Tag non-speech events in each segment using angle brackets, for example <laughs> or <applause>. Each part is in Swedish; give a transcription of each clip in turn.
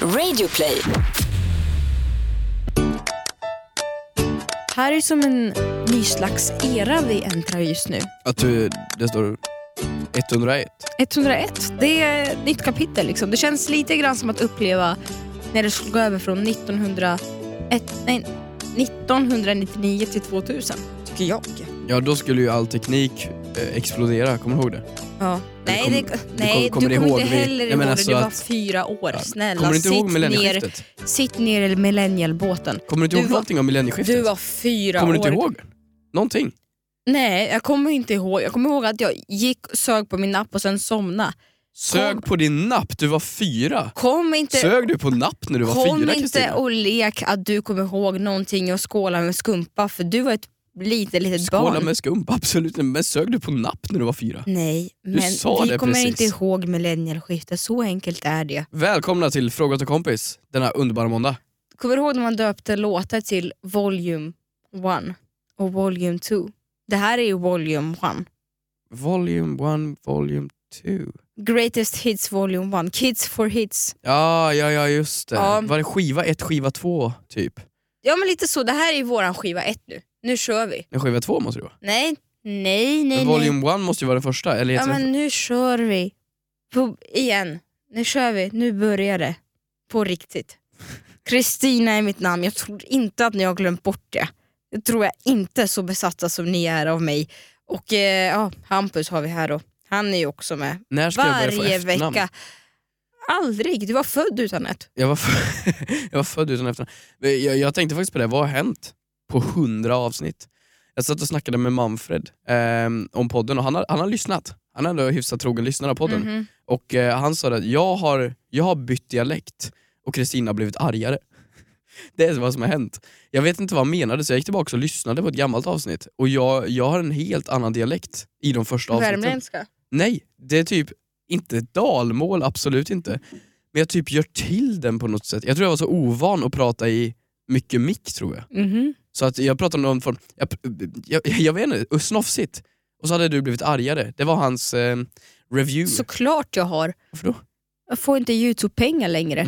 Radioplay. Här är som en ny slags era vi äntrar just nu. Att du, det står 101. 101, det är ett nytt kapitel. Liksom. Det känns lite grann som att uppleva när det skulle gå över från 1901, nej, 1999 till 2000, tycker jag. Ja, då skulle ju all teknik eh, explodera, kommer du ihåg det? Ja. Nej, kom- det, du nej du kom- kommer kommer ihåg inte vi- heller jag ihåg menar det. alltså du var att- fyra år. Ja. Snälla, Kommer du inte sitt, ihåg ner, millennieskiftet? sitt ner i millennialbåten. Kommer du inte Du ihåg var- någonting om millennieskiftet? Du var fyra Kommer du år. inte ihåg? Någonting? Nej, jag kommer inte ihåg. Jag kommer ihåg att jag gick och sög på min napp och sen somna. Sög på din napp, du var fyra. Kom inte Sög du på napp när du var Kom fyra inte Kristina? och lek att du kommer ihåg någonting och skåla med skumpa för du var ett litet, litet Skåla barn. med skumpa, <laughs> absolut. Men sög du på napp när du var fyra? Nej, men sa vi det kommer precis. inte ihåg millennialskiftet, så enkelt är det. Välkomna till Fråga till kompis denna underbara måndag. Kommer du ihåg när man döpte låtar till Volume 1 och Volume 2? Det här är ju Volume 1. Volume 1, Volume 2. Greatest Hits Volume 1, Kids for Hits. Ja, ja, ja just det. Ja. Var det skiva 1, skiva 2 typ? Ja men lite så, det här är ju våran skiva 1 nu. Nu kör vi. Nej, skiva 2 måste det vara. Nej, nej, nej. Men nej. volume 1 måste ju vara den första, eller Ja heter den men nu kör vi. På, igen. Nu kör vi. Nu börjar det. På riktigt. Kristina är mitt namn. Jag tror inte att ni har glömt bort det. Det tror jag inte så besatta som ni är av mig. Och eh, ja, Hampus har vi här då. Han är ju också med. När ska jag börja få Varje efternamn? vecka. Aldrig. Du var född utan ett. Jag var, fö- <laughs> jag var född utan efternamn. Men Jag, jag tänkte faktiskt på det, vad har hänt på hundra avsnitt? Jag satt och snackade med Manfred ehm, om podden och han har, han har lyssnat. Han är ändå hyfsat trogen lyssnare av podden. Mhm. Och eh, han sa att jag har, jag har bytt dialekt och Kristina har blivit argare. <laughs> Det är vad som har hänt. Jag vet inte vad han menade så jag gick tillbaka och lyssnade på ett gammalt avsnitt och jag, jag har en helt annan dialekt i de första avsnitten. Värmländska. Nej, det är typ inte dalmål, absolut inte. Men jag typ gör till den på något sätt. Jag tror jag var så ovan att prata i mycket mick tror jag. Mhm. Så att jag pratade om någon form, jag, jag, jag vet inte, uh, snofsigt. Och så hade du blivit argare. Det var hans eh, review. Såklart jag har. Varför då? Jag får inte Youtube-pengar längre.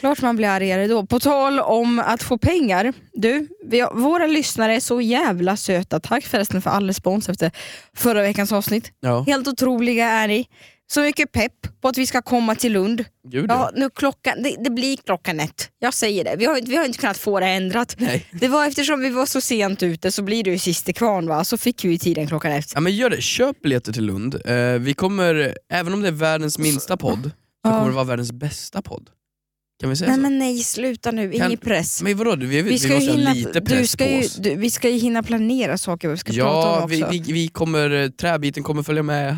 Klart man blir argare då. På tal om att få pengar. Du, vi har, våra lyssnare är så jävla söta. Tack förresten för all respons efter förra veckans avsnitt. Ja, Helt otroliga är ni. Så mycket pepp på att vi ska komma till Lund. gud ja. Ja, nu klockan, det, det blir klockan ett. Jag säger det. Vi har, inte- vi har inte kunnat få det ändrat. Nej. Det var eftersom vi var så sent ute så blir det ju sist i kvarn va? Så fick vi ju tiden klockan ett. Ja men gör det, köp biljetter till Lund. Eh, vi kommer, även om det är världens minsta podd, så Ja. kommer det vara världens bästa podd. Kan vi säga Nej så? Men, men nej, sluta nu. Ingen Kan- press. vadå, vi, vi, Vi, ska ju måste ha hinna, lite press du ska på ju, oss. du, vi ska ju hinna planera saker vi ska prata om Ja, vi, också. vi, vi kommer, eh, träbiten kommer följa med.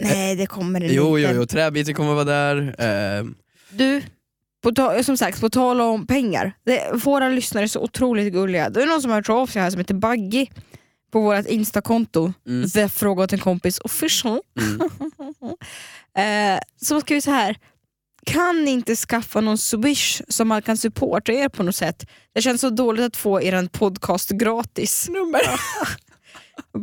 Nej, det kommer det Jo, jo, inte. jo, träbiten kommer vara där. Eh, Du, på ta, som sagt, på tal om pengar. Det, våra lyssnare är så otroligt gulliga. Det är någon som har hört av sig här som heter Baggy på vårt instakonto, Mm. the fråga åt en kompis official. mm. <laughs> Eh, som skriver så här. Kan ni inte skaffa någon swish som man kan supporta er på något sätt? Det känns så dåligt att få er en podcast gratis. <laughs> Nummer.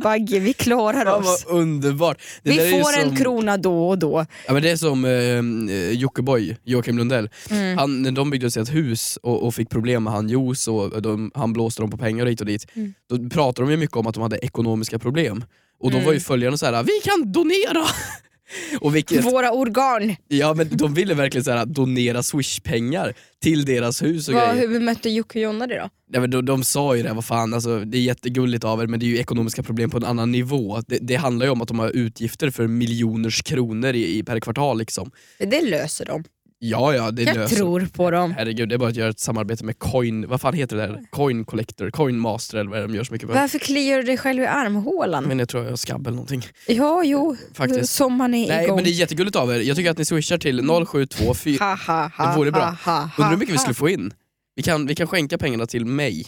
Baggy, vi klarar Fan oss. vad underbart. Det där är vi ju får en som- krona då och då. Ja, men det är som eh, Jockiboi, Joakim Lundell. Mm. Han, när de byggde sitt hus och, och fick problem med han Jos och de, han blåste dem på pengar hit och dit. Mm. Då pratade de ju mycket om att de hade ekonomiska problem. Och då var ju Mm. följarna så här: vi kan donera! <laughs> och vilket, Våra organ. ja, men de ville verkligen så här, donera swish-pengar till deras hus och Vad, grejer. hur bemötte Jocke och Jonna det då? Nej, men de, de sa ju det, vad fan, alltså, det är jättegulligt av er men det är ju ekonomiska problem på en annan nivå. Det, det handlar ju om att de har utgifter för miljoners kronor i, i per kvartal. Liksom. Det löser de. Ja, ja, det Jag löser tror på dem. Herregud, det är bara att göra ett samarbete med coin, vad fan heter det där? Coin collector, coin master eller vad är det de gör så mycket för. Varför kliar du dig själv i armhålan? Men jag tror jag har skabb eller någonting. Ja, jo. Faktiskt. Som man är Nej igång. Mm. men det är jättegulligt av er, jag tycker att ni swishar till 0724, Ha, ha, ha, Det vore bra. Ha, ha, ha, undrar hur mycket vi ha. skulle få in? Vi kan, vi kan skänka pengarna till mig.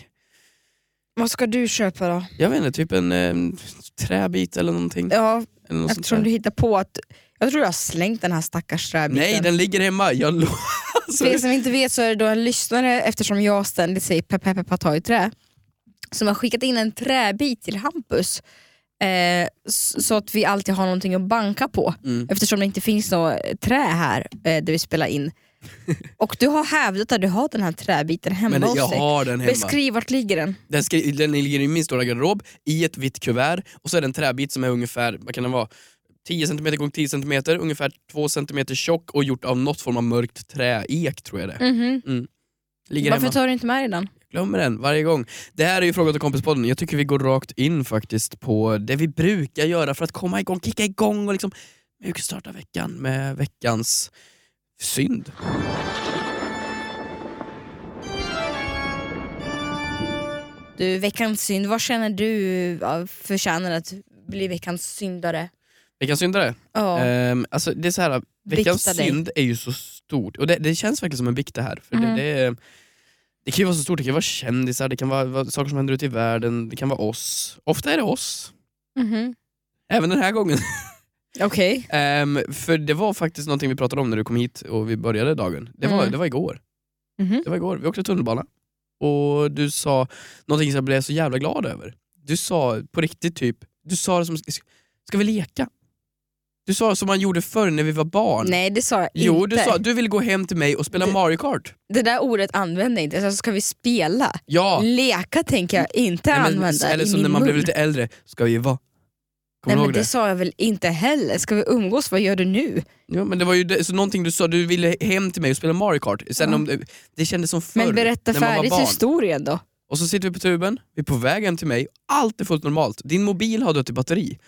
Vad ska du köpa då? Jag vet inte, typ en eh, träbit eller någonting. Ja, eller något sånt där. eftersom du hittar på att... Jag tror du har slängt den här stackars träbiten. Nej, den ligger hemma. Jag lo- <laughs> alltså, För er som inte vet så är det då en lyssnare, eftersom jag ständigt säger peppa peppa ta i trä, som har skickat in en träbit till Hampus. Eh, s- så att vi alltid har någonting att banka på. Mm. <laughs> Eftersom det inte finns något trä här eh, där vi spelar in. Och du har hävdat att du har den här träbiten hemma Men hos jag dig. har den hemma. Beskriv vart ligger den? Den, skri- den ligger i min stora garderob i ett vitt kuvert och så är det en träbit som är ungefär, vad kan den vara, 10 cm gånger 10 cm, ungefär 2 cm tjock och gjort av något form av mörkt trä, ek tror jag det är. Mhm. Ligger Varför hemma. tar du inte med dig den? Glömmer den varje gång. Det här är ju Fråga till kompispodden. Jag tycker vi går rakt in faktiskt på det vi brukar göra för att komma igång, kicka igång och liksom mjukstarta veckan med veckans synd. Du, veckans synd, vad känner du ja, förtjänar att bli veckans syndare? Veckans syndare. Ja. Ehm, alltså det är så här, veckans Bikta dig. synd är ju så stort. Och det, det känns verkligen som en bikt det här. För Mm. det, det, är- det kan ju vara så stort, det kan vara kändisar, det kan vara, vara saker som händer ute i världen, det kan vara oss. Ofta är det oss. Mhm. Även den här gången. <laughs> Okej. Ehm, för det var faktiskt någonting vi pratade om när du kom hit och vi började dagen. Det var, Mm. det var igår. Mhm. Det var igår. Vi åkte tunnelbana och du sa någonting som jag blev så jävla glad över. Du sa på riktigt typ, du sa det som, ska vi leka? Du sa som man gjorde förr när vi var barn. Nej det sa jag Jo, inte. du sa du vill gå hem till mig och spela Det- Mario Kart. Det där ordet använder jag inte, alltså, ska vi spela? Ja. Leka tänker jag inte Nej, men- använda eller i som min när man mun. blev lite äldre, ska vi vara? Kommer Nej men du ihåg det, det? sa jag väl inte heller. Ska vi umgås, vad gör du nu? Ja, men det var ju det, så någonting du sa, du ville hem till mig och spela Mario Kart. Sen Ja. om, det- det kändes som förr Men berätta när man var färdigt barn. historien då. är Och så sitter vi på tuben, vi är på väg hem till mig, allt är fullt normalt. Din mobil har dött i batteri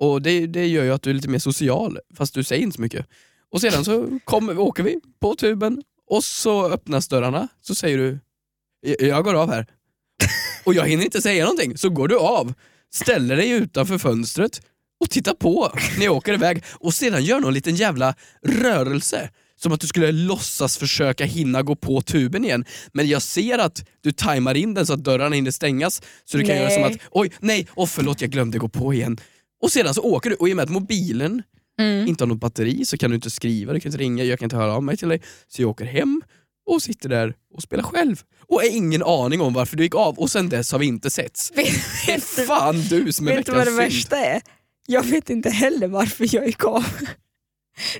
och det, det gör ju att du är lite mer social fast du säger inte så mycket. Och sedan så kommer, åker vi på tuben och så öppnas dörrarna, så säger du "Jag- jag går av här. Och jag hinner inte säga någonting, så går du av, ställer dig utanför fönstret och tittar på när jag åker iväg och sedan gör någon liten jävla rörelse. Som att du skulle låtsas försöka hinna gå på tuben igen. Men jag ser att du tajmar in den så att dörrarna hinner stängas. Så du kan göra som att, Nej. oj, nej, åh förlåt jag glömde gå på igen. Och sedan så åker du och i och med att mobilen Mm. inte har något batteri så kan du inte skriva, du kan inte ringa, jag kan inte höra av mig till dig. Så jag åker hem och sitter där och spelar själv. Och har ingen aning om varför du gick av och sen dess har vi <laughs> inte setts. Det är fan du som är Vet du vad det veckans synd. värsta är? Jag vet inte heller varför jag gick av. <laughs>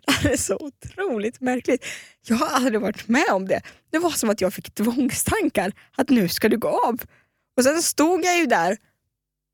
Det här är så otroligt märkligt. Jag har aldrig varit med om det. Det var som att jag fick tvångstankar att nu ska du gå av. Och sen stod jag ju där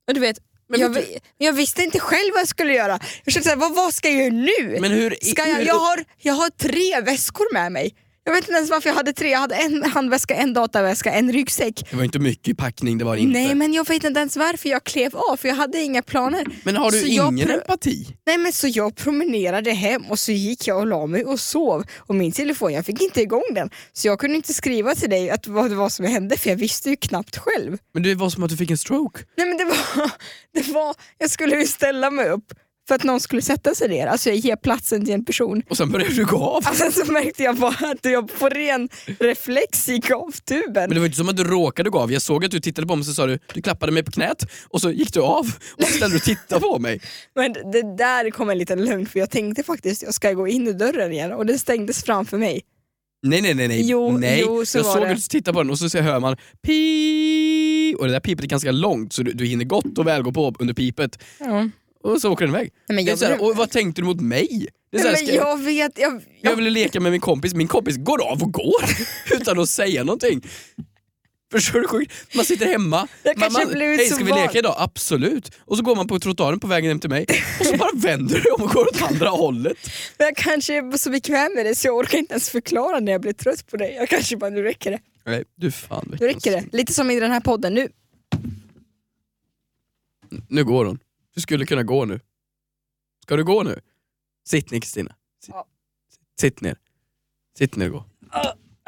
och du vet, Men jag, vet vi- jag visste inte själv vad jag skulle göra. Jag kände såhär, vad, vad ska jag göra nu? Men hur... Ska jag, hur- jag, har, jag har tre väskor med mig. Jag vet inte ens varför jag hade tre. Jag hade en handväska, en dataväska, en ryggsäck. Det var inte mycket i packning, det var det inte. Nej men jag vet inte ens varför jag klev av för jag hade inga planer. Men har Så du jag ingen pr- empati? Nej men så jag promenerade hem och så gick jag och la mig och sov och min telefon, jag fick inte igång den. Så jag kunde inte skriva till dig att vad det var som hände för jag visste ju knappt själv. Men det var som att du fick en stroke. Nej men det var, <laughs> det var jag skulle ju ställa mig upp för att någon skulle sätta sig ner, alltså jag ger platsen till en person. Och sen började du gå av. Och sen så märkte jag bara att jag på ren reflex gick av tuben. Men det var inte som att du råkade gå av. Jag såg att du tittade på mig och så sa du, du klappade mig på knät och så gick du av och så ställde du och tittade på mig. Men det där kom en liten lögn för jag tänkte faktiskt jag ska gå in i dörren igen och den stängdes framför mig. Nej nej nej. nej. Jo, nej. jo, så jag var såg det. att du tittade på den och så ser- hör man pip och det där pipet är ganska långt så du, du hinner gott och väl gå på under pipet och så åker den iväg. Nej, men det är jag, så här, blev- och vad tänkte du mot mig? Det är så här, Nej, ska, men jag vet, jag, jag jag, ville leka med min kompis, min kompis går av och går <laughs> utan att säga någonting. Förstår du hur sjukt? Man sitter hemma, Jag kanske man, blivit hej så ska vi van." leka idag? Absolut. Och så går man på trottoaren på vägen hem till mig och så bara vänder du om och går åt andra hållet. jag kanske är så bekväm med det så jag orkar inte ens förklara när jag blir trött på dig. Jag kanske bara, nu räcker det. Nej, du fan Nu veckans- räcker det. Lite som i den här podden nu. Nu går hon. Du skulle kunna gå nu. Ska du gå nu? Sitt ner Kristina. Sitt, Ja. sitt ner. Sitt ner och gå.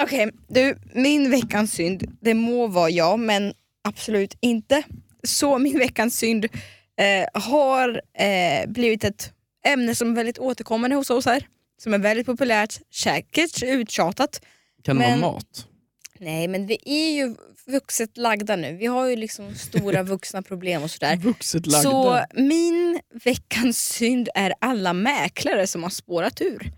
Okej, du, min veckans synd, det må vara jag, men absolut inte. Så min veckans synd eh, har eh, blivit ett ämne som är väldigt återkommande hos oss här. Som är väldigt populärt, säkert uttjatat. Kan Men- det vara mat? Nej men vi är ju vuxet lagda nu. Vi har ju liksom stora <laughs> vuxna problem och sådär. Vuxet lagda. Så min veckans synd är alla mäklare som har spårat ur.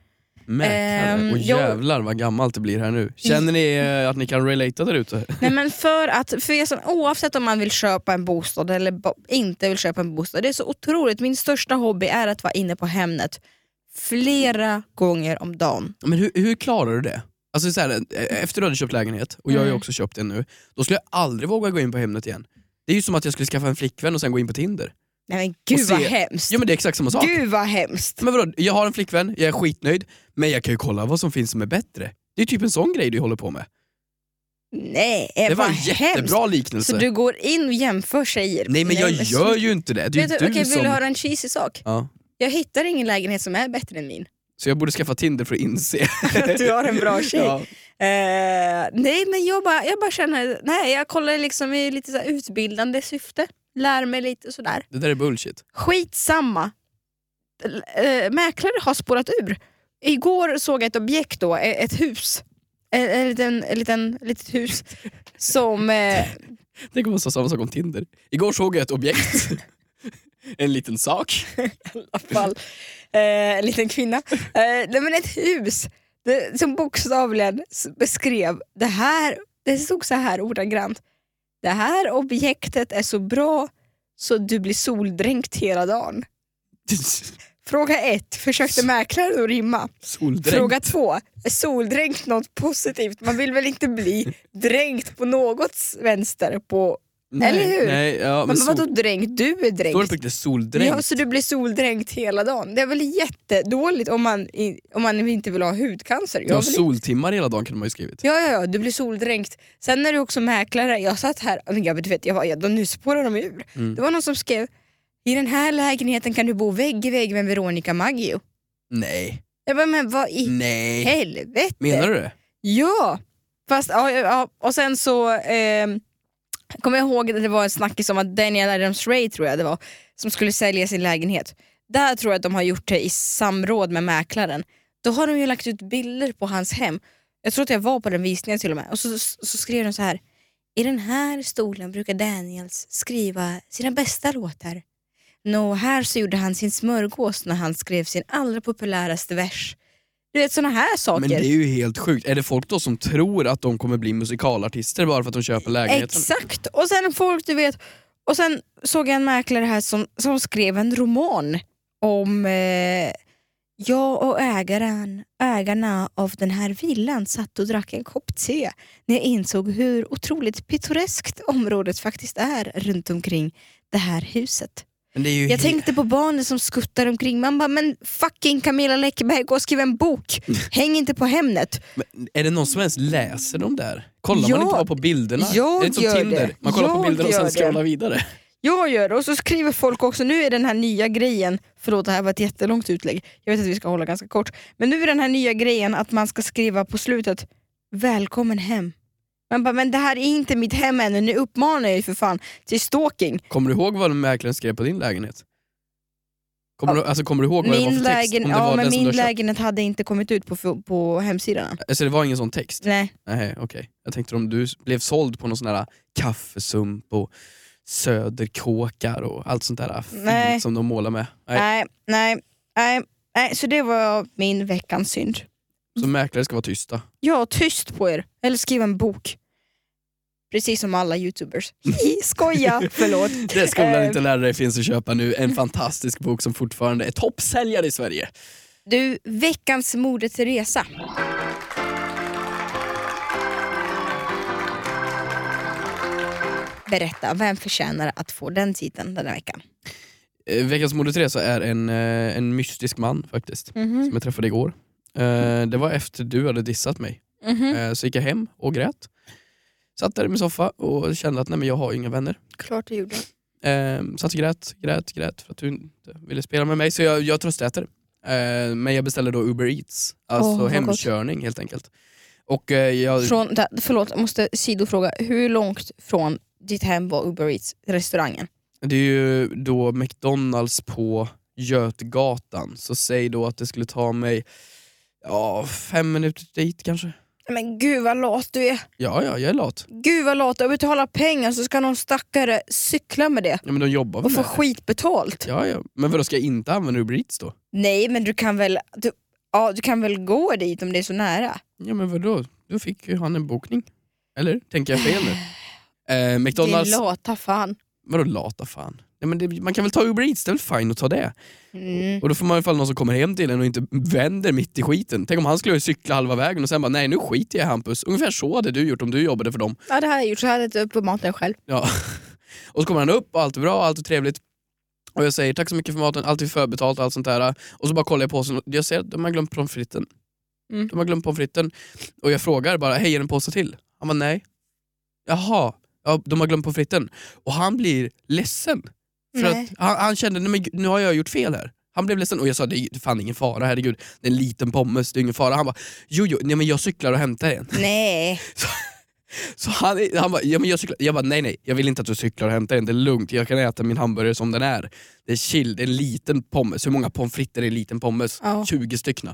Mäklare. ehm, och jag- jävlar vad gammalt det blir här nu. Känner ni eh, att ni kan relata där ute? Nej, men för att, för er som, oavsett om man vill köpa en bostad eller bo, inte vill köpa en bostad, det är så otroligt. Min största hobby är att vara inne på Hemnet flera gånger om dagen. Men hur, hur klarar du det? Alltså så här, eh, efter du hade köpt lägenhet, och jag har ju Mm. också köpt en nu, då skulle jag aldrig våga gå in på Hemnet igen. Det är ju som att jag skulle skaffa en flickvän och sen gå in på Tinder. Nej men gud se- vad hemskt. Jo men det är exakt samma sak. Gud vad hemskt. Men vadå, jag har en flickvän, jag är skitnöjd, men jag kan ju kolla vad som finns som är bättre. Det är typ en sån grej du håller på med. Nej, Det var vad en hemskt. jättebra liknelse. Så du går in och jämför tjejer? Nej men jag gör så- ju inte det, det är Vet ju du, du okej, som... Vill du höra en cheesy sak? Ja. Jag hittar ingen lägenhet som är bättre än min. Så jag borde skaffa Tinder för <laughs> att inse. Att du har en bra tjej. <laughs> Ja. Eh, nej men jag bara, jag bara känner, nej jag kollar liksom i lite så här utbildande syfte. Lär mig lite och sådär. Det där är bullshit. Skitsamma. Äh, mäklare har spårat ur. Igår såg jag ett objekt då, e- ett hus. En, en liten, en liten, litet hus som... eh, Det kommer vara samma sak om Tinder. Igår såg jag ett objekt. <laughs> en liten sak. <laughs> alla fall. Eh, en liten kvinna. Eh, nej men ett hus det, som bokstavligen s- beskrev det här, det stod så här ordagrant. Det här objektet är så bra så du blir soldränkt hela dagen. Fråga ett, försökte mäklaren att rimma? Soldränkt. Fråga två, är soldränkt något positivt? Man vill väl inte <laughs> bli dränkt på något s- vänster? På, Nej, eller hur? Nej, ja, men men sol... vadå dränkt? Du är dränkt. Står det på riktigt soldränkt? Ja, så du blir soldränkt hela dagen. Det är väl jättedåligt om man, i- om man inte vill ha hudcancer. Du har Jag vill, soltimmar hela dagen kunde man ju skrivit. ja, ja, ja, du blir soldränkt. Sen är du också mäklare. Jag satt här, men jag, du vet, jag var, jag, då- nu spårar de ur. Mm. Det var någon som skrev, i den här lägenheten kan du bo vägg i vägg med Veronica Maggio. Nej. Jag bara, men vad i Nej. helvete? Mm. Menar du det? Ja, fast ja, ja, ja. och sen så ehm, kommer jag ihåg att det var en snackis om att Daniel Adams Ray tror jag det var, som skulle sälja sin lägenhet. Där tror jag att de har gjort det i samråd med mäklaren. Då har de ju lagt ut bilder på hans hem. Jag tror att jag var på den visningen till och med. Och så, så, så skrev de så här. I den här stolen brukar Daniels skriva sina bästa låtar. Nå, här så gjorde han sin smörgås när han skrev sin allra populäraste vers. Du vet såna här saker. Men det är ju helt sjukt. Är det folk då som tror att de kommer bli musikalartister bara för att de köper lägenheten? Exakt, och sen folk du vet. Och sen såg jag en mäklare här som, som skrev en roman om eh, jag och ägaren, ägarna av den här villan satt och drack en kopp te när jag insåg hur otroligt pittoreskt området faktiskt är runt omkring det här huset. Men det är ju Jag he- tänkte på barnen som skuttar omkring. Man bara, men fucking Camilla Läckberg, gå och skriv en bok. Häng inte på Hemnet. Men är det någon som ens läser de där? Kollar Jag- man inte bara på bilderna? jag är det inte gör som Tinder? det. Man kollar på Jag bilderna och gör sen det. scrollar vidare. Jag gör det och så skriver folk också, nu är den här nya grejen, förlåt det här var ett jättelångt utlägg, jag vet att vi ska hålla ganska kort, men nu är den här nya grejen att man ska skriva på slutet “Välkommen hem”. Man bara, men det här är inte mitt hem ännu, nu uppmanar jag ju för fan till stalking. Kommer du ihåg vad mäklaren skrev på din lägenhet? Kommer, du, alltså, kommer du ihåg vad det var Min, för text? lägen, Om det var ja, men den som du min har köpt? lägenhet hade inte kommit ut på, på hemsidan. Alltså det var ingen sån text? Nej. Nej, okej. Jag tänkte om du blev såld på någon sån här kaffesump och söderkåkar och allt sånt där fint Nej. som de målar med. Nej. Nej, nej, nej, nej, så det var min veckans synd. Så mäklare ska vara tysta. Ja, tyst på er. Eller skriv en bok. Precis som alla <laughs> youtubers. Hihi, Skoja, <laughs> förlåt. Det ska väl Eh, inte lära dig finns att köpa nu. En fantastisk bok som fortfarande är toppsäljare i Sverige. Du, veckans Moder Teresa. Berätta, vem förtjänar att få den titeln den här veckan? Eh, Veckans Moder Teresa är en, eh, en mystisk man faktiskt, Mm. Mhm, som jag träffade igår. Eh, Det var efter du hade dissat mig. mhm. Mm. Eh, Så gick jag hem och grät. Satt där i min soffa och kände att nej, men jag har ju inga vänner. Klart du gjorde. Eh, satt och grät, grät, grät för att du inte ville spela med mig. Så jag, jag tröstäter. Eh, men jag beställde då Uber Eats, Åh, alltså vad hemkörning helt enkelt. Och eh, jag, Från, där- förlåt, jag måste sidofråga. Hur långt från ditt hem var Uber Eats restaurangen? det är ju då McDonalds på Götgatan, så säg då att det skulle ta mig ja, fem minuter dit kanske. Men gud vad lat du är. Ja, ja, jag är lat. Gud vad lat, jag betalar pengar så ska någon stackare cykla med det Ja, men de jobbar väl och få med det. skitbetalt. Ja, ja. Men vadå, ska jag inte använda Uber Eats då? Nej men du kan väl du, ja, du kan väl gå dit om det är så nära? Ja men vadå, då fick ju han en bokning. Eller? Tänker jag fel nu? Eh, Din McDonalds, lata fan. vadå lata fan? Nej, men det, man kan väl ta Uber Eats, det är väl fine att ta det. Mm. Och då får man ifall någon som kommer hem till en och inte vänder mitt i skiten. Tänk om han skulle cykla halva vägen och sen bara nej nu skiter jag i Hampus. Ungefär så hade du gjort om du jobbade för dem. Ja, det hade jag gjort. Så hade jag ätit upp på maten själv. Ja. <laughs> Och så kommer han upp, och allt är bra, allt är trevligt. Och jag säger tack så mycket för maten, allt är förbetalt och allt sånt där. Och så bara kollar jag på påsen och jag ser att de har glömt pommes fritesen. Mm. De har glömt pommes fritesen. Och jag frågar bara, hej är det en påse till? Han bara nej. Jaha, ja, de har glömt pommes fritesen. Och han blir ledsen. För Nej. att han, han kände, nej men gud, nu har jag gjort fel här. Han blev ledsen och jag sa, det är ju fan ingen fara, herregud. Det är en liten pommes, det är ingen fara. Han bara, jo jo, nej men jag cyklar och hämtar en. Nej. Så han, han bara, ja, men jag, cyklar. jag bara, nej nej, jag vill inte att du cyklar och hämtar den. Det är lugnt, jag kan äta min hamburgare som den är. Det är chill, det är en liten pommes. Hur många pommes frites är det i en liten pommes? Ja. 20 stycken.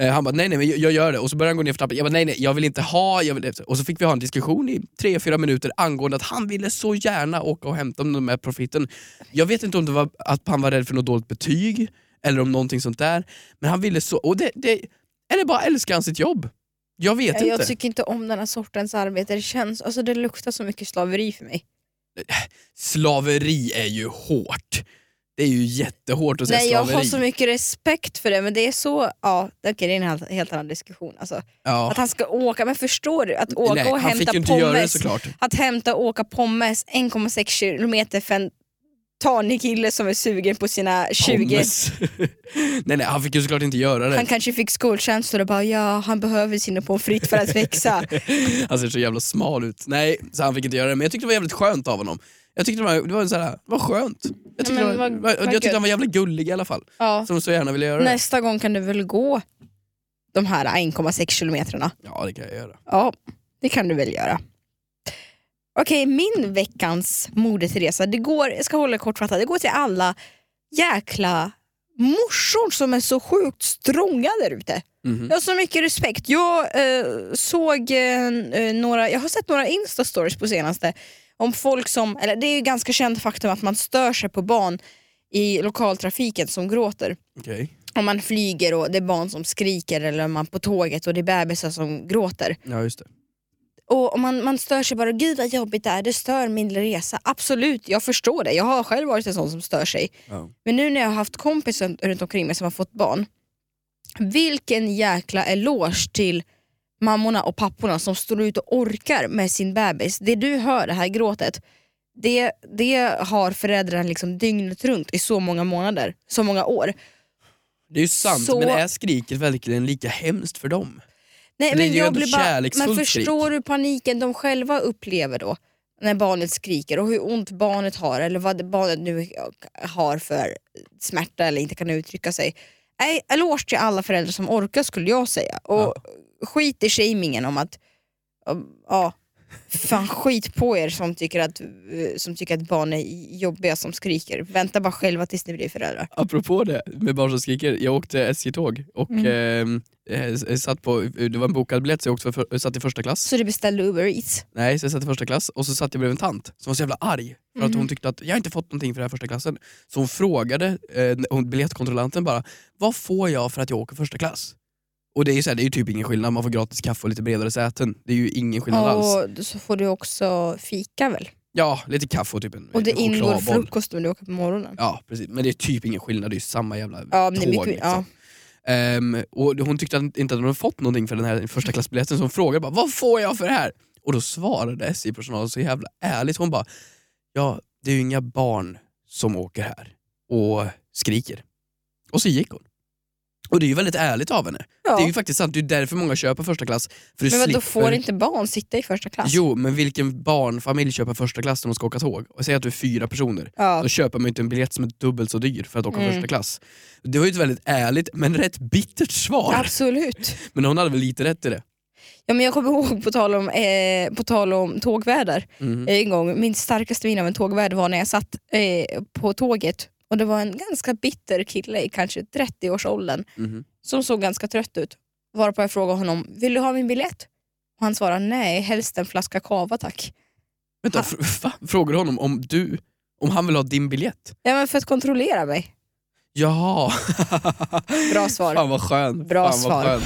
Eh, han bara, nej nej, men jag, jag gör det. Och så började han gå ner för trappan. Jag bara, nej nej, jag vill inte ha. Jag vill... Och så fick vi ha en diskussion i tre fyra minuter angående att han ville så gärna åka och hämta de här profiten. Jag vet inte om det var att han var rädd för något dåligt betyg, eller om någonting sånt där. Men han ville så... Och det, det... Eller bara älskar han sitt jobb? Jag vet Jag, inte. tycker inte om den här sortens arbete. Det känns, alltså det luktar så mycket slaveri för mig. Slaveri är ju hårt. Det är ju jättehårt att säga Nej, jag slaveri. har så mycket respekt för det men det är så, ja okej det är en helt, helt annan diskussion. Alltså, ja. Att han ska åka, men förstår du? Att åka Nej, och han fick hämta ju inte göra det pommes. såklart. Att hämta och åka pommes 1,6 kilometer för en tanig kille som är sugen på sina 20. Pommes. <laughs> nej, nej, han fick ju såklart inte göra det. Han kanske fick skolkänslor och bara ja, han behöver sina pommes frites för att <laughs> växa. Han ser så jävla smal ut. Nej, så han fick inte göra det. Men jag tyckte det var jävligt skönt av honom. Jag tyckte det var, det var, så här, det var skönt. Jag tyckte, men det var, vad- var- vad jag tyckte gött. han var jävligt gullig i alla fall. Ja. Som så gärna ville göra det. Nästa gång kan du väl gå de här 1,6 kilometrarna? Ja, det kan jag göra. Ja, det kan du väl göra. Okej, min veckans modetresa, det går, jag ska hålla det kortfattat, det går till alla jäkla morsor som är så sjukt strånga där ute. Mhm. Jag har så mycket respekt. Jag eh, såg eh, eh, några, jag har sett några instastories på senaste om folk som, eller det är ju ganska känt faktum att man stör sig på barn i lokaltrafiken som gråter Okej. om man flyger och det är barn som skriker eller om man är på tåget och det är bebisar som gråter. Ja, just det. Och om man, man stör sig bara, gud vad jobbigt det är, det stör min resa. Absolut, jag förstår det. Jag har själv varit en sån som stör sig. Ja. Men nu när jag har haft kompisar runt omkring mig som har fått barn, vilken jäkla eloge till mammorna och papporna som står ut och orkar med sin bebis. Det du hör, det här gråtet, det, det har föräldrarna liksom dygnet runt i så många månader, så många år. Det är ju sant, Så- men är skriket verkligen lika hemskt för dem? Nej, Det är men ju jag ändå blir bara, kärleksfullt men skrik. förstår du paniken de själva upplever då? När barnet skriker och hur ont barnet har eller vad det- barnet nu har för smärta eller inte kan uttrycka sig. Nej, eloge till alla föräldrar som orkar skulle jag säga. Och Ja. skit i shamingen om att, om- ja, fan skit på er som tycker, att, eh, som tycker att barn är jobbiga som skriker. Vänta bara själva tills ni blir föräldrar. Apropå det med barn som skriker, jag åkte SJ-tåg och Mm. eh, eh, satt på, det var en bokad biljett så jag åkte för, jag satt i första klass. Så du beställde Uber Eats? Nej, så jag satt i första klass och så satt jag bredvid en tant som var så jävla arg för Mm. att hon tyckte att jag har inte fått någonting för den här första klassen. Så hon frågade eh, hon- biljettkontrollanten bara, vad får jag för att jag åker första klass? Och det är ju, så här, det är ju typ ingen skillnad, man får gratis kaffe och lite bredare säten. Det är ju ingen skillnad alls. Och så får du också fika väl? Ja, lite kaffe och typ en Och det en ingår chokladboll. frukost om du åker på morgonen. Ja, precis. Men det är typ ingen skillnad, det är ju samma jävla Ja, men tåg. det är mycket, liksom. ja. Ehm, och hon tyckte att- inte att hon hade fått någonting för den här första klassbiljetten så hon frågade bara, vad får jag för det här? Och då svarade SJ-personalen så jävla ärligt. Hon bara, ja det är ju inga barn som åker här och skriker. Och så gick hon. Och det är ju väldigt ärligt av henne. Ja. Det är ju faktiskt sant, det är ju därför många köper första klass. För du Men vadå, slipper... får inte barn sitta i första klass? Jo, men vilken barnfamilj köper första klass när de ska åka tåg? Och säg att du är fyra personer. Ja. Då köper man ju inte en biljett som är dubbelt så dyr för att åka Mm. första klass. Det var ju ett väldigt ärligt men rätt bittert svar. Absolut. Men hon hade väl lite rätt i det. Ja, men jag kommer ihåg, på tal om, eh, på tal om tågvärdar, Mm. en gång, min starkaste minne av en tågvärd var när jag satt eh, på tåget och det var en ganska bitter kille i kanske 30-årsåldern Mhm. som såg ganska trött ut. Varpå jag frågade honom, vill du ha min biljett? Och han svarade, nej helst en flaska cava tack. Vänta, Ha- fr- va? frågar du honom om du om han vill ha din biljett? Ja, men för att kontrollera mig. Jaha! Bra svar. Fan vad skönt. Bra Fan vad svar. skönt.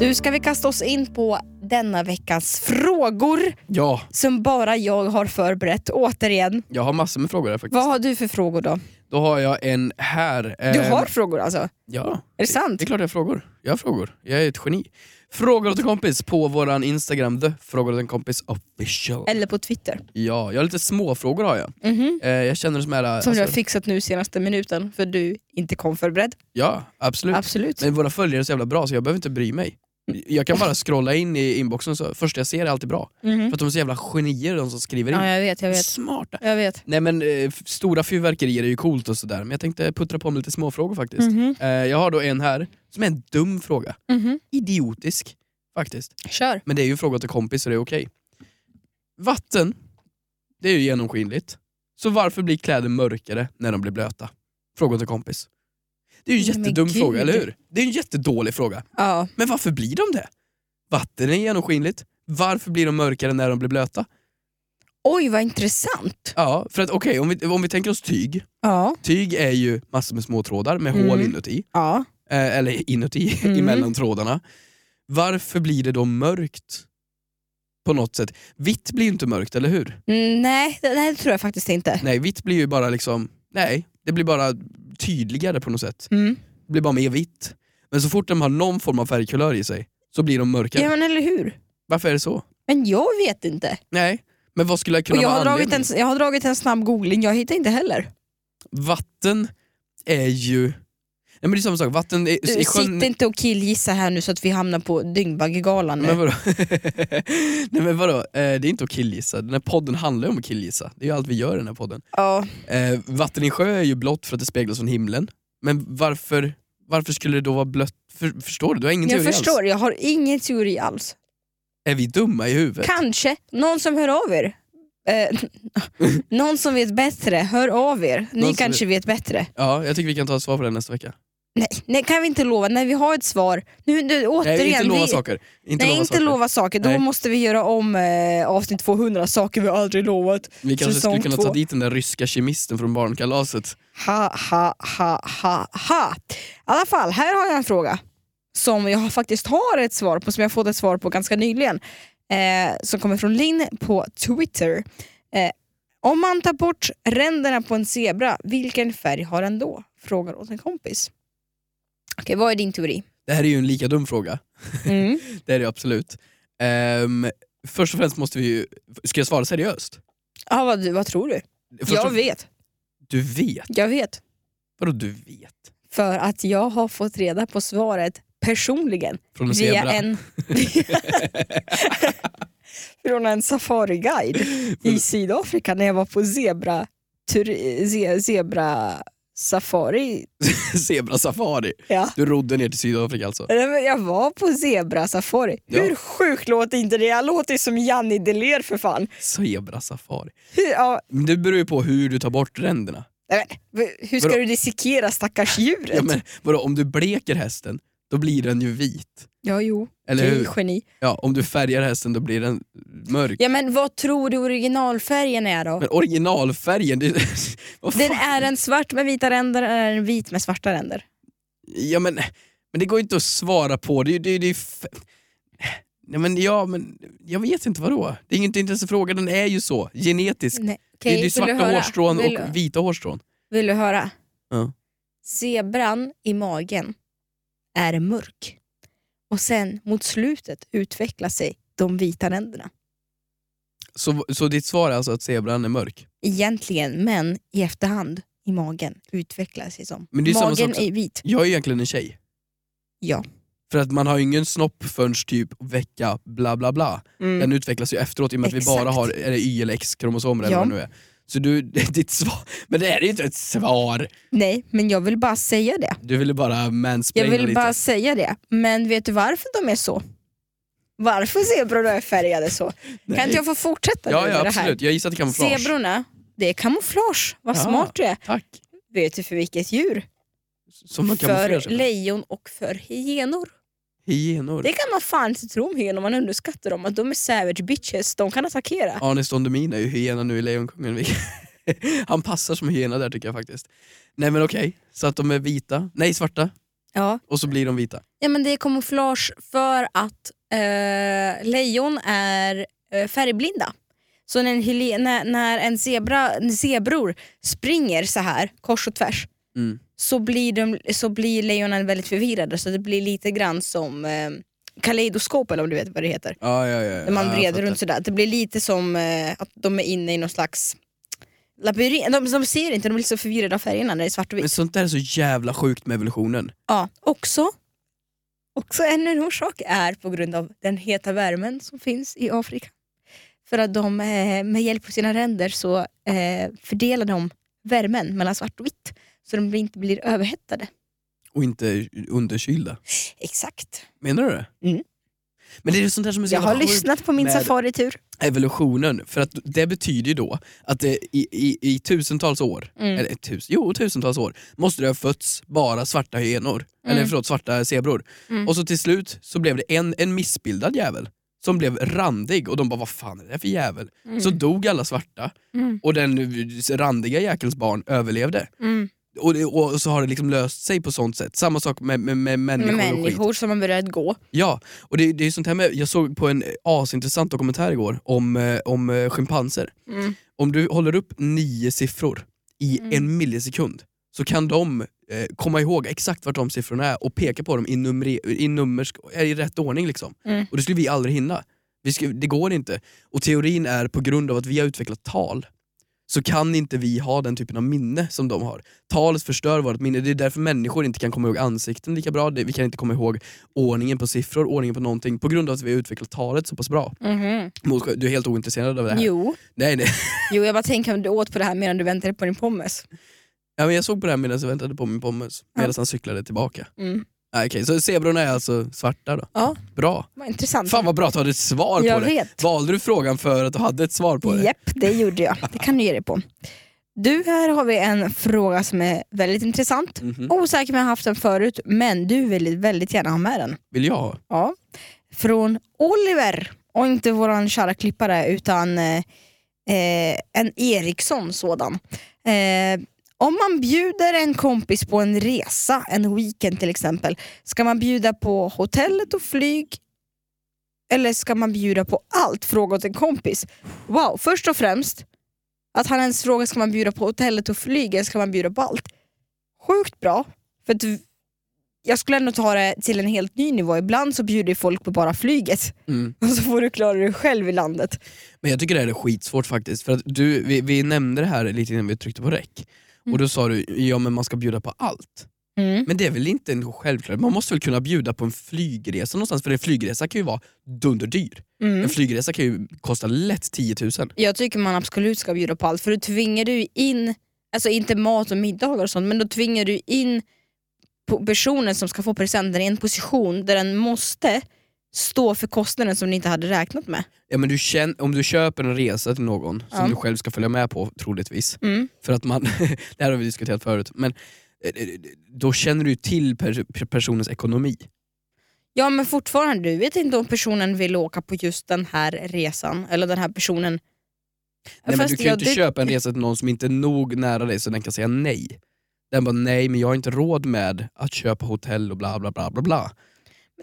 Du, ska vi kasta oss in på denna veckans frågor Ja, som bara jag har förberett. Återigen, jag har massor med frågor här faktiskt. vad har du för frågor då? Då har jag en här. Du eh, har frågor alltså? Ja. Är det sant? Det är klart jag har frågor. Jag har frågor. Jag är ett geni. Frågor åt en kompis på våran Instagram, the frågor åt en kompis official. Eller på Twitter? Ja, jag har lite småfrågor har jag. Mhm. Eh, jag känner det som här... Som du alltså, har fixat nu senaste minuten för du inte kom förberedd. Ja, absolut. Absolut. Mm. Men våra följare är så jävla bra så jag behöver inte bry mig. Mm. Jag kan bara scrolla in i inboxen så första jag ser är alltid bra. Mhm. För att de är så jävla genier de som skriver in. Ja, jag vet, jag vet. Smarta. Jag vet. Nej men eh, f- stora fyrverkerier är ju coolt och sådär, men jag tänkte puttra på med lite småfrågor faktiskt. Mhm. Eh, jag har då en här, som är en dum fråga. Mhm. Idiotisk, faktiskt. Kör. Men det är ju en fråga till kompis så det är okej. Vatten, det är ju genomskinligt. Så varför blir kläder mörkare när de blir blöta? Fråga till kompis. Det är ju en Men jättedum gud. fråga, eller hur? Det är en jättedålig fråga. Ja. Men varför blir de det? Vatten är genomskinligt. Varför blir de mörkare när de blir blöta? Oj, vad intressant. Ja, för att okej, om, vi, om vi tänker oss tyg. Ja. Tyg är ju massor med små trådar med hål Mm. inuti. ja. Eh, eller inuti, <laughs> Mm. emellan trådarna. Varför blir det då mörkt? På något sätt. Vitt blir ju inte mörkt, eller hur? Mm, nej, det, nej, det tror jag faktiskt inte. Nej, vitt blir ju bara liksom... Nej, det blir bara tydligare på något sätt. Mm. Det blir bara mer vitt. Men så fort de har någon form av färgkulör i sig så blir de mörkare. Ja, men eller hur? Varför är det så? Men jag vet inte. Nej, men vad skulle jag Och kunna jag, vara har dragit anledningen? en, jag har dragit en snabb googling, jag hittar inte heller. Vatten är ju... Nej, men det är samma sak, vatten är, Du, i Sitt inte och killgissa här nu så att vi hamnar på Dyngbaggegalan nu. Men vadå? <laughs> Nej men vadå, eh, det är inte att killgissa. Den här podden handlar ju om att killgissa. Det är ju allt vi gör i den här podden. ja. Eh, vatten i sjö är ju blått för att det speglas från himlen. Men varför, varför skulle det då vara blött? För, förstår du? Du har ingen Jag teori alls. förstår, jag har ingen teori alls. Är vi dumma i huvudet? Kanske, någon som hör av er. Eh, <laughs> någon som vet bättre, hör av er. Ni Någon som kanske vet bättre. Ja, jag tycker vi kan ta ett svar på det nästa vecka. Nej, nej, kan vi inte lova. När vi har ett svar, nu, nu återigen. Nej, inte lova vi, saker. Inte nej, lova inte saker. lova saker. Då Nej. måste vi göra om eh, avsnitt 200, saker vi aldrig lovat. Vi kanske skulle säsong kunna två. ta dit den där ryska kemisten från barnkalaset. Ha, ha, ha, ha, ha. I alla fall, här har jag en fråga som jag faktiskt har ett svar på, som jag fått ett svar på ganska nyligen. Eh, som kommer från Linn på Twitter. Eh, om man tar bort ränderna på en zebra, vilken färg har den då? Frågar åt en kompis. Okej, vad är din teori? Det här är ju en lika dum fråga. Mm. Det är det absolut. Ehm, först och främst måste vi ju... Ska jag svara seriöst? <laughs> Ja, vad, vad tror du? Först Jag och- vet, Du vet? jag vet. Vadå du vet? För att jag har fått reda på svaret personligen Från en via zebra? en... <laughs> från en safariguide i Sydafrika när jag var på zebra, tur, ze, zebra safari. <laughs> zebra safari. Ja. Du rodde ner till Sydafrika alltså? Nej, men Jag var på zebra safari. Ja. Hur sjukt låter inte det? Jag låter som Janni Deler för fan. Zebra safari. Hur, ja, Men det beror ju på hur du tar bort ränderna. nej, men hur ska Vadå? du dissekera stackars djuret? Ja, men, vadå, om du bleker hästen, då blir den ju vit. ja jo. Eller Okej, hur? geni. Ja, om du färgar hästen, då blir den mörk. Ja, men vad tror du originalfärgen är då? Men originalfärgen, det, <laughs> vad fan? Den är en svart med vita ränder eller är den vit med svarta ränder? Ja, men, men det går ju inte att svara på. Det, är ju- det, är- det, är f- Nej, men, ja, men, jag vet inte vadå. Det är ju inte inte ens en fråga, den är ju så. Genetisk. Nej. Det Mm, Okej, är ju vill du svarta höra? hårstrån vill, och vita hårstrån. Vill du höra? Ja. Zebran i magen är mörk och sen mot slutet utvecklar sig de vita ränderna. Så, så ditt svar är alltså att zebran är mörk? Egentligen, men i efterhand i magen utvecklar sig som. Men det är samma magen sak som- är vit. Jag är egentligen en tjej. Ja. För att man har ju ingen snopp förrän typ vecka bla bla bla. Den utvecklas ju efteråt i och med att vi bara Mm. Exakt. har är det Y eller X-kromosomer eller Ja. vad det nu är. Så du, <laughs> ditt svar, men det här är ju inte ett svar. Nej, men jag vill bara säga det. Du ville bara Jag mansplaina vill lite. bara säga det. Men vet du varför de är så? Varför zebrorna är färgade så? Nej. Kan inte jag få fortsätta ja, nu ja med det här? absolut, jag gissar att det kan vara flash. Zebrorna, det är kamouflage. Vad Ja. smart du är. Tack. Vet du för vilket djur? Som man kamouflerar För sig. lejon och för hyenor. Hyenor. Det kan man fan inte tro om hyenor, man underskattar dem. Att de är savage bitches, de kan attackera. Arne Stondemina är ju hyena nu i Lejonkungen. <laughs> vilket- Han passar som hyena där tycker jag faktiskt. Nej men okej, så att de är vita, nej svarta. Ja. och så blir de vita. ja, men det är kamouflage för att eh, lejon är eh, färgblinda. Så när en, hele- när, när en, zebra, en zebror springer så här kors och tvärs Mm. så blir, de, så blir lejonen väldigt förvirrade så det blir lite grann som eh, kaleidoskop eller om du vet vad det heter. Ja, ja, ja. När man ja, jag vreder fattar. runt sådär. Det blir lite som eh, att de är inne i någon slags labyrint. De, de ser inte, de blir så förvirrade av färgerna när det är svart och vitt. Men sånt där är så jävla sjukt med evolutionen. Ja, också, också ännu en orsak är på grund av den heta värmen som finns i Afrika. För att de eh, med hjälp av sina ränder så eh, fördelar de värmen mellan svart och vitt så de blir- inte blir överhettade. Och inte underkylda. Exakt. Menar du det? Mm. Men det är ju sånt där som är så Jag har jävla sjukt. lyssnat på min med- safaritur. evolutionen, för att det betyder ju då att det i, i, i tusentals år, Mm. eller tus, jo tusentals år, måste det ha fötts bara svarta hyenor, eller förlåt svarta zebror. Mm. Och så till slut så blev det en, en missbildad jävel som blev randig och de bara vad fan är det här för jävel? Så dog alla svarta Mm. och den eh, randiga jäkelns barn överlevde. Mm. Och, det, och så har det liksom löst sig på sånt sätt. Samma sak med, med, med människor, Med och skit. människor som har börjat gå. Ja, och det, det är sånt här med, jag såg på en asintressant dokumentär igår om, eh, om eh, schimpanser. Mm. Om du håller upp nio siffror i Mm. en millisekund så kan de eh, komma ihåg exakt vart de siffrorna är och peka på dem i, numre, i, nummers, i rätt ordning. Liksom. Mm. Och det skulle vi aldrig hinna. Vi skulle, det går inte. Och teorin är på grund av att vi har utvecklat tal så kan inte vi ha den typen av minne som de har. Talet förstör vårt minne, det är därför människor inte kan komma ihåg ansikten lika bra, Det- vi kan inte komma ihåg ordningen på siffror, ordningen på någonting, på grund av att vi har utvecklat talet så pass bra. Mhm. Mot- Du är helt ointresserad av det här? Jo. Nej, nej. jo, jag bara tänker om du åt på det här medan du väntade på din pommes. Ja, men jag såg på det här medan jag väntade på min pommes, medan han cyklade tillbaka. Mm. Ah, Okej, så zebrorna är alltså svarta då? Ja, Bra. vad intressant. Fan vad bra att du hade ett svar jag på det. vet. Valde du frågan för att du hade ett svar på det? Japp, det gjorde jag. Det kan du ge dig på. Du, här har vi en fråga som är väldigt intressant. Mhm. Osäker om jag har haft den förut, men du vill väldigt gärna ha med den. Vill jag ha? Ja. Från Oliver, och inte våran kära klippare utan eh, eh, en Eriksson sådan. Eh, om man bjuder en kompis på en resa, en weekend till exempel, ska man bjuda på hotellet och flyg eller ska man bjuda på allt? Fråga åt en kompis. Wow, först och främst, att han ens frågar ska man bjuda på hotellet och flyg eller ska man bjuda på allt? Sjukt bra, för att jag skulle ändå ta det till en helt ny nivå. Ibland så bjuder folk på bara flyget <laughs> Mm. och så får du klara dig själv i landet. Men jag tycker det här är skitsvårt faktiskt. För att du, vi, vi nämnde det här lite innan vi tryckte på räck. Mm. Och då sa du, ja men man ska bjuda på allt. Men det är väl inte en självklarhet? Man måste väl kunna bjuda på en flygresa någonstans? För en flygresa kan ju vara dunderdyr. En Mm. flygresa kan ju kosta lätt 10 000. Jag tycker man absolut ska bjuda på allt för då tvingar du in, alltså inte mat och middagar och sånt, men då tvingar du in po- personen som ska få presenten i en position där den måste stå för kostnaden som ni inte hade räknat med. Ja, men du känn, om du köper en resa till någon som Ja. du själv ska följa med på troligtvis, Mm. För att man, <laughs> det här har vi diskuterat förut, men eh, eh, då känner du ju till per, per- personens ekonomi. Ja men fortfarande, du vet inte om personen vill åka på just den här resan eller den här personen. Nej, men Fast du kan ju ja, inte det- köpa en resa till någon som inte är nog nära dig så den kan säga nej. Den bara nej, men jag har inte råd med att köpa hotell och bla bla bla bla bla.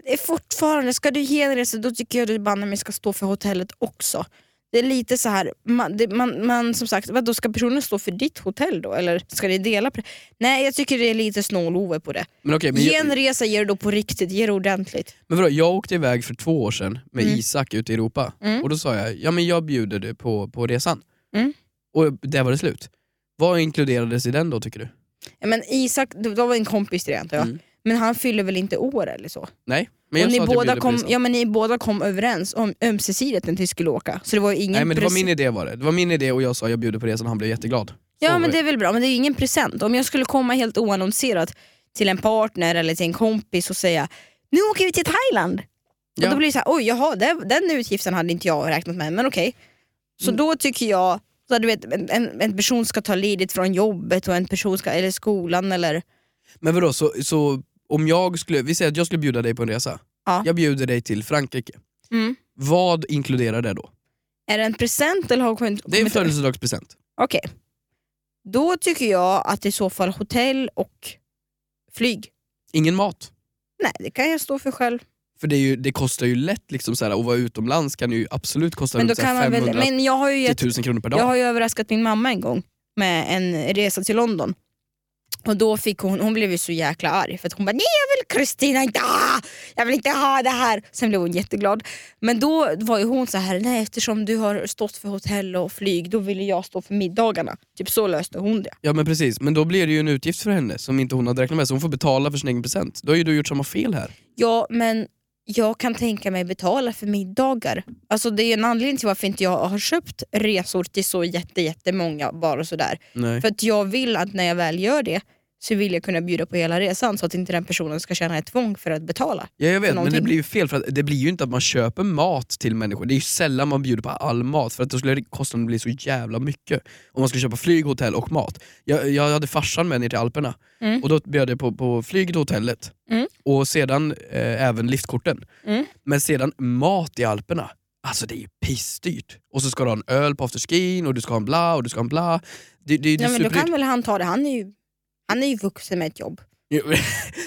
Det är fortfarande, ska du ge en resa då tycker jag du banne mig ska stå för hotellet också. Det är lite så här, man, det, man, man som sagt, vadå, ska personen stå för ditt hotell då? Eller ska ni dela på det? Nej jag tycker det är lite snål på det. Men okej, men, Ge en jag, resa, ger du då på riktigt, ger du ordentligt. men vadå, jag åkte iväg för två år sedan med Mm. Isak ute i Europa Mm. och då sa jag, ja men jag bjuder dig på, på resan. Mm. Och där var det slut. Vad inkluderades i den då tycker du? Ja, men Isak, det det var en kompis till det antar jag, Mm. men han fyller väl inte år eller så? Nej, men jag och sa ni, att jag bjuder båda på kom, resan. ja, men ni båda kom överens om ömsesidigt att ni skulle åka. Så det var ju ingen Nej men det var preci- min idé var det. Det var min idé och jag sa jag bjuder på resan och han blev jätteglad. Så Ja var men det är väl bra, men det är ju ingen present. Om jag skulle komma helt oannonserat till en partner eller till en kompis och säga nu åker vi till Thailand. Ja. Och då blir det så här, oj jaha, det, den utgiften hade inte jag räknat med, men okej. Så Mm. då tycker jag, så här, du vet, en, en, en person ska ta ledigt från jobbet och en person ska, eller skolan eller... Men vadå, så, så om jag skulle, vi säger att jag skulle bjuda dig på en resa. Ja. Mm. Jag bjuder dig till Frankrike. Vad inkluderar det då? Är det en present eller har det kommit... Det är en födelsedagspresent. Okej. Då tycker jag att i så fall hotell och flyg. Ingen mat. Nej, det kan jag stå för själv. För det, är ju, det kostar ju lätt liksom så här, att vara utomlands kan ju absolut kosta Men, då runt så kan här man väl, 500 men jag har ju gett till 1000 kronor per dag. Jag har ju överraskat min mamma en gång med en resa till London. Och då fick hon, hon blev ju så jäkla arg för att hon bara nej jag vill Kristina inte ha, jag vill inte ha det här. Sen blev hon jätteglad. Men då var ju hon så här nej eftersom du har stått för hotell och flyg då ville jag stå för middagarna. Typ så löste hon det. Ja men precis, men då blir det ju en utgift för henne som inte hon hade räknat med så hon får betala för sin egen present. Då har ju du gjort samma fel här. Ja men jag kan tänka mig betala för middagar. Alltså det är ju en anledning till varför inte jag har köpt resor till så jätte, jättemånga bara sådär. Nej. För att jag vill att när jag väl gör det så vill jag kunna bjuda på hela resan så att inte den personen ska känna ett tvång för att betala. Ja, jag vet, men det någonting. blir ju fel för att det blir ju inte att man köper mat till människor. Det är ju sällan man bjuder på all mat för att då skulle kostnaden bli så jävla mycket. Om man skulle köpa flyg, hotell och mat. Jag, jag hade farsan med ner till Alperna Mm. och då bjöd jag på, på flyget och hotellet Mm. och sedan eh, även liftkorten. Mm. Men sedan mat i Alperna. Alltså det är ju pissdyrt. Och så ska du ha en öl på afterskin och du ska ha en bla och du ska ha en bla. Det, det, det Nej, är men då superdyrt. kan väl han ta det, han är ju, han är ju vuxen med ett jobb. Jo, <laughs>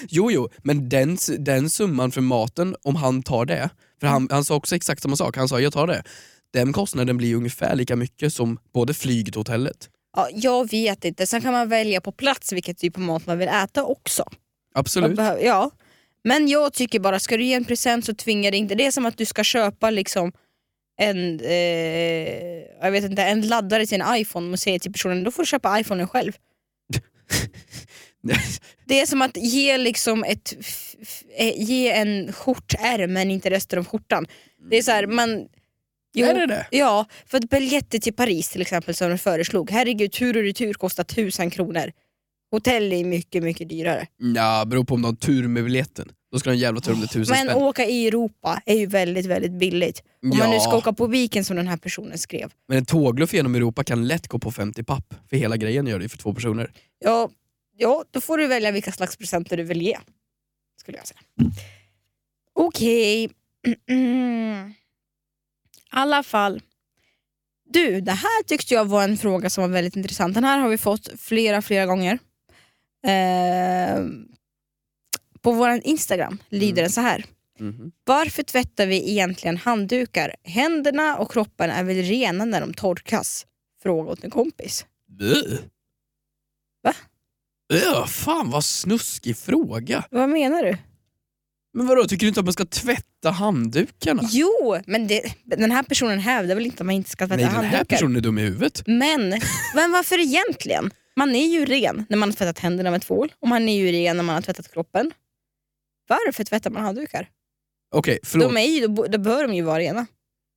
jo, jo, men den, s- den summan för maten, om han tar det, för han, han sa också exakt samma sak, han sa jag tar det. Den kostnaden blir ungefär lika mycket som både flyget och hotellet. Ja, jag vet inte, sen kan man välja på plats vilket typ av mat man vill äta också. Man Absolut. behöver- ja. Men jag tycker bara, ska du ge en present så tvinga det inte. Det är som att du ska köpa liksom en, eh, jag vet inte, en laddare till en iPhone och säger till personen då får du köpa iPhonen <laughs> själv. Det är som att ge, liksom ett, f- f- eh, ge en skjortärm men inte resten av skjortan. Det är så här, man... Jo, Mm. Är det det? Ja, för att biljetter till Paris till exempel som de föreslog, herregud tur och retur kostar tusen kronor. Hotell är mycket, mycket dyrare. Ja, beror på om de har tur med biljetten. Då ska de ha en jävla tur om det är tusen Men spänn. åka i Europa är ju väldigt, väldigt billigt. Om man nu ska Ja, åka på viken som den här personen skrev. men en tågluff genom Europa kan lätt gå på 50 papp. För hela grejen gör det ju för två personer. Ja, ja, då får du välja vilka slags presenter du vill ge. Skulle jag säga. Okej. <clears throat> I alla fall. Du, det här tyckte jag var en fråga som var väldigt intressant. Den här har vi fått flera, flera gånger. Eh, på vår Instagram lyder Mm. den så här. Mhm. Varför tvättar vi egentligen handdukar? Händerna och kroppen är väl rena när de torkas? Fråga åt en kompis. Bäh. Va? Öh, fan vad snuskig fråga. Vad menar du? Men vadå, tycker du inte att man ska tvätta handdukarna? Jo, men det, den här personen hävdar väl inte att man inte ska tvätta Nej, den här handdukar? personen är dum i huvudet. Men, men varför egentligen? Man är ju ren när man har tvättat händerna med tvål och man är ju ren när man har tvättat kroppen. Varför tvättar man handdukar? Okej, förlåt. De är ju, då, då bör de ju vara rena.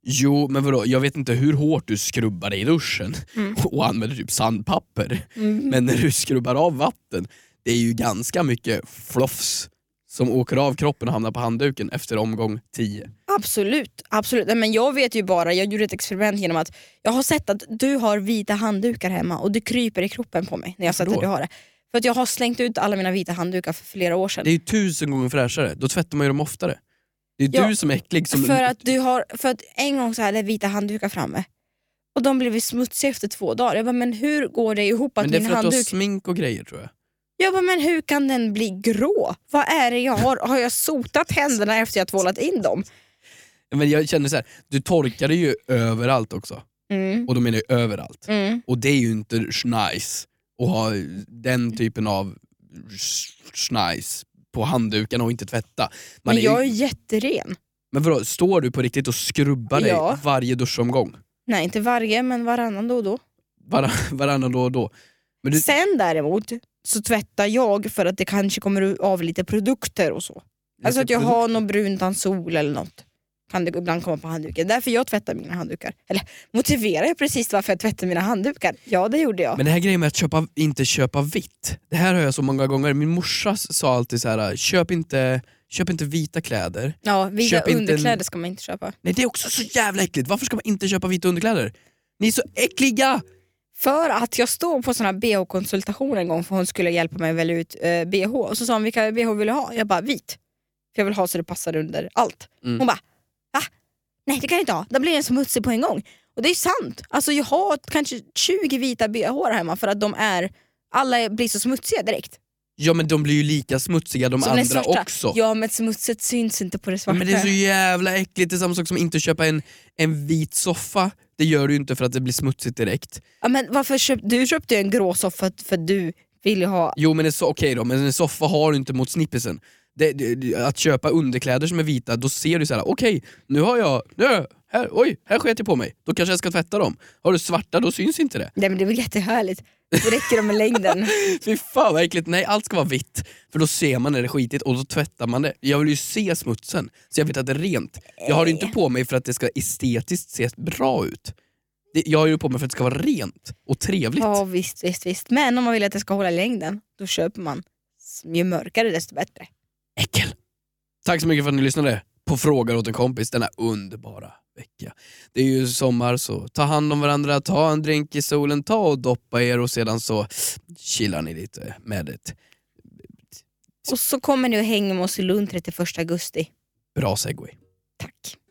Jo, men vadå, jag vet inte hur hårt du skrubbar dig i duschen Mm. <laughs> och använder typ sandpapper. Mm. Men när du skrubbar av vatten, det är ju ganska mycket flofs som åker av kroppen och hamnar på handduken efter omgång 10. Absolut, absolut. Nej, men jag vet ju bara, jag gjorde ett experiment genom att jag har sett att du har vita handdukar hemma och du kryper i kroppen på mig när jag har sett Varför att du har det. För att jag har slängt ut alla mina vita handdukar för flera år sedan. Det är ju tusen gånger fräschare, då tvättar man ju dem oftare. Det är Ja, du som är äcklig som... För att, du har, för att en gång så hade vita handdukar framme och de blev ju smutsiga efter två dagar. Jag bara, men hur går det ihop att men det är min för att du har handduk... smink och grejer tror jag. Jag bara, men hur kan den bli grå? Vad är det jag har? Har jag sotat händerna efter jag tvålat in dem? Men jag känner så här, du torkar dig ju överallt också. Mm. Och då menar jag överallt. Mm. Och det är ju inte nice att ha den typen av nice på handduken och inte tvätta. Men Man men, är jag är ju, jätteren. men vadå, står du på riktigt och skrubbar dig Ja. varje duschomgång? Nej, inte varje, men varannan då och då. Var, varannan då och då? Men du, Sen däremot så tvättar jag för att det kanske kommer av lite produkter och så. Alltså att jag har någon brun dansol eller något. Kan det ibland komma på handduken. Därför jag tvättar mina handdukar. Eller motiverar jag precis varför jag tvättar mina handdukar? Ja det gjorde jag. Men det här grejen med att köpa, inte köpa vitt, det här har jag så många gånger. Min morsa s- sa alltid så här: köp inte, köp inte vita kläder. ja, vida köp inte en- underkläder ska man inte köpa. Nej det är också så jävla äckligt, varför ska man inte köpa vita underkläder? Ni är så äckliga! För att jag stod på sån här bh-konsultation en gång för hon skulle hjälpa mig att välja ut eh, bh. Och så sa hon vilka bh vill du ha? Jag bara vit. För jag vill ha så det passar under allt. Mm. Hon bara va? Nej det kan jag inte ha, då blir den smutsig på en gång. Och det är sant. Alltså jag har kanske 20 vita bh hemma för att de är, alla är- blir så smutsiga direkt. Ja men de blir ju lika smutsiga de Som den andra svarta. också. Ja men smutset syns inte på det svarta. Men det är så jävla äckligt, det är samma sak som att inte köpa en, en vit soffa. Det gör du ju inte för att det blir smutsigt direkt. ja, men varför köp... Du köpte ju en grå soffa för att du ville ha... Jo men en so- okej då, men en soffa har du inte mot snippisen. Det, det, det- att köpa underkläder som är vita, då ser du så här: okej nu har jag, nu har jag här, oj, här sket jag på mig. Då kanske jag ska tvätta dem. Har du svarta då syns inte det. Nej men det är väl jättehärligt. Det räcker de med längden. Fy fan vad äckligt. Nej allt ska vara vitt. För då ser man när det är skitigt och då tvättar man det. Jag vill ju se smutsen, så jag vet att det är rent. Jag har det inte på mig för att det ska estetiskt se bra ut. Det, jag har ju på mig för att det ska vara rent och trevligt. Ja visst, visst, visst. Men om man vill att det ska hålla längden, då köper man. Ju mörkare desto bättre. äckel. Tack så mycket för att ni lyssnade på Frågar åt en kompis denna underbara vecka. Det är ju sommar så ta hand om varandra, ta en drink i solen, ta och doppa er och sedan så chillar ni lite med ett Och så kommer ni och hänger med oss i Lund 31 augusti. bra segway. Tack.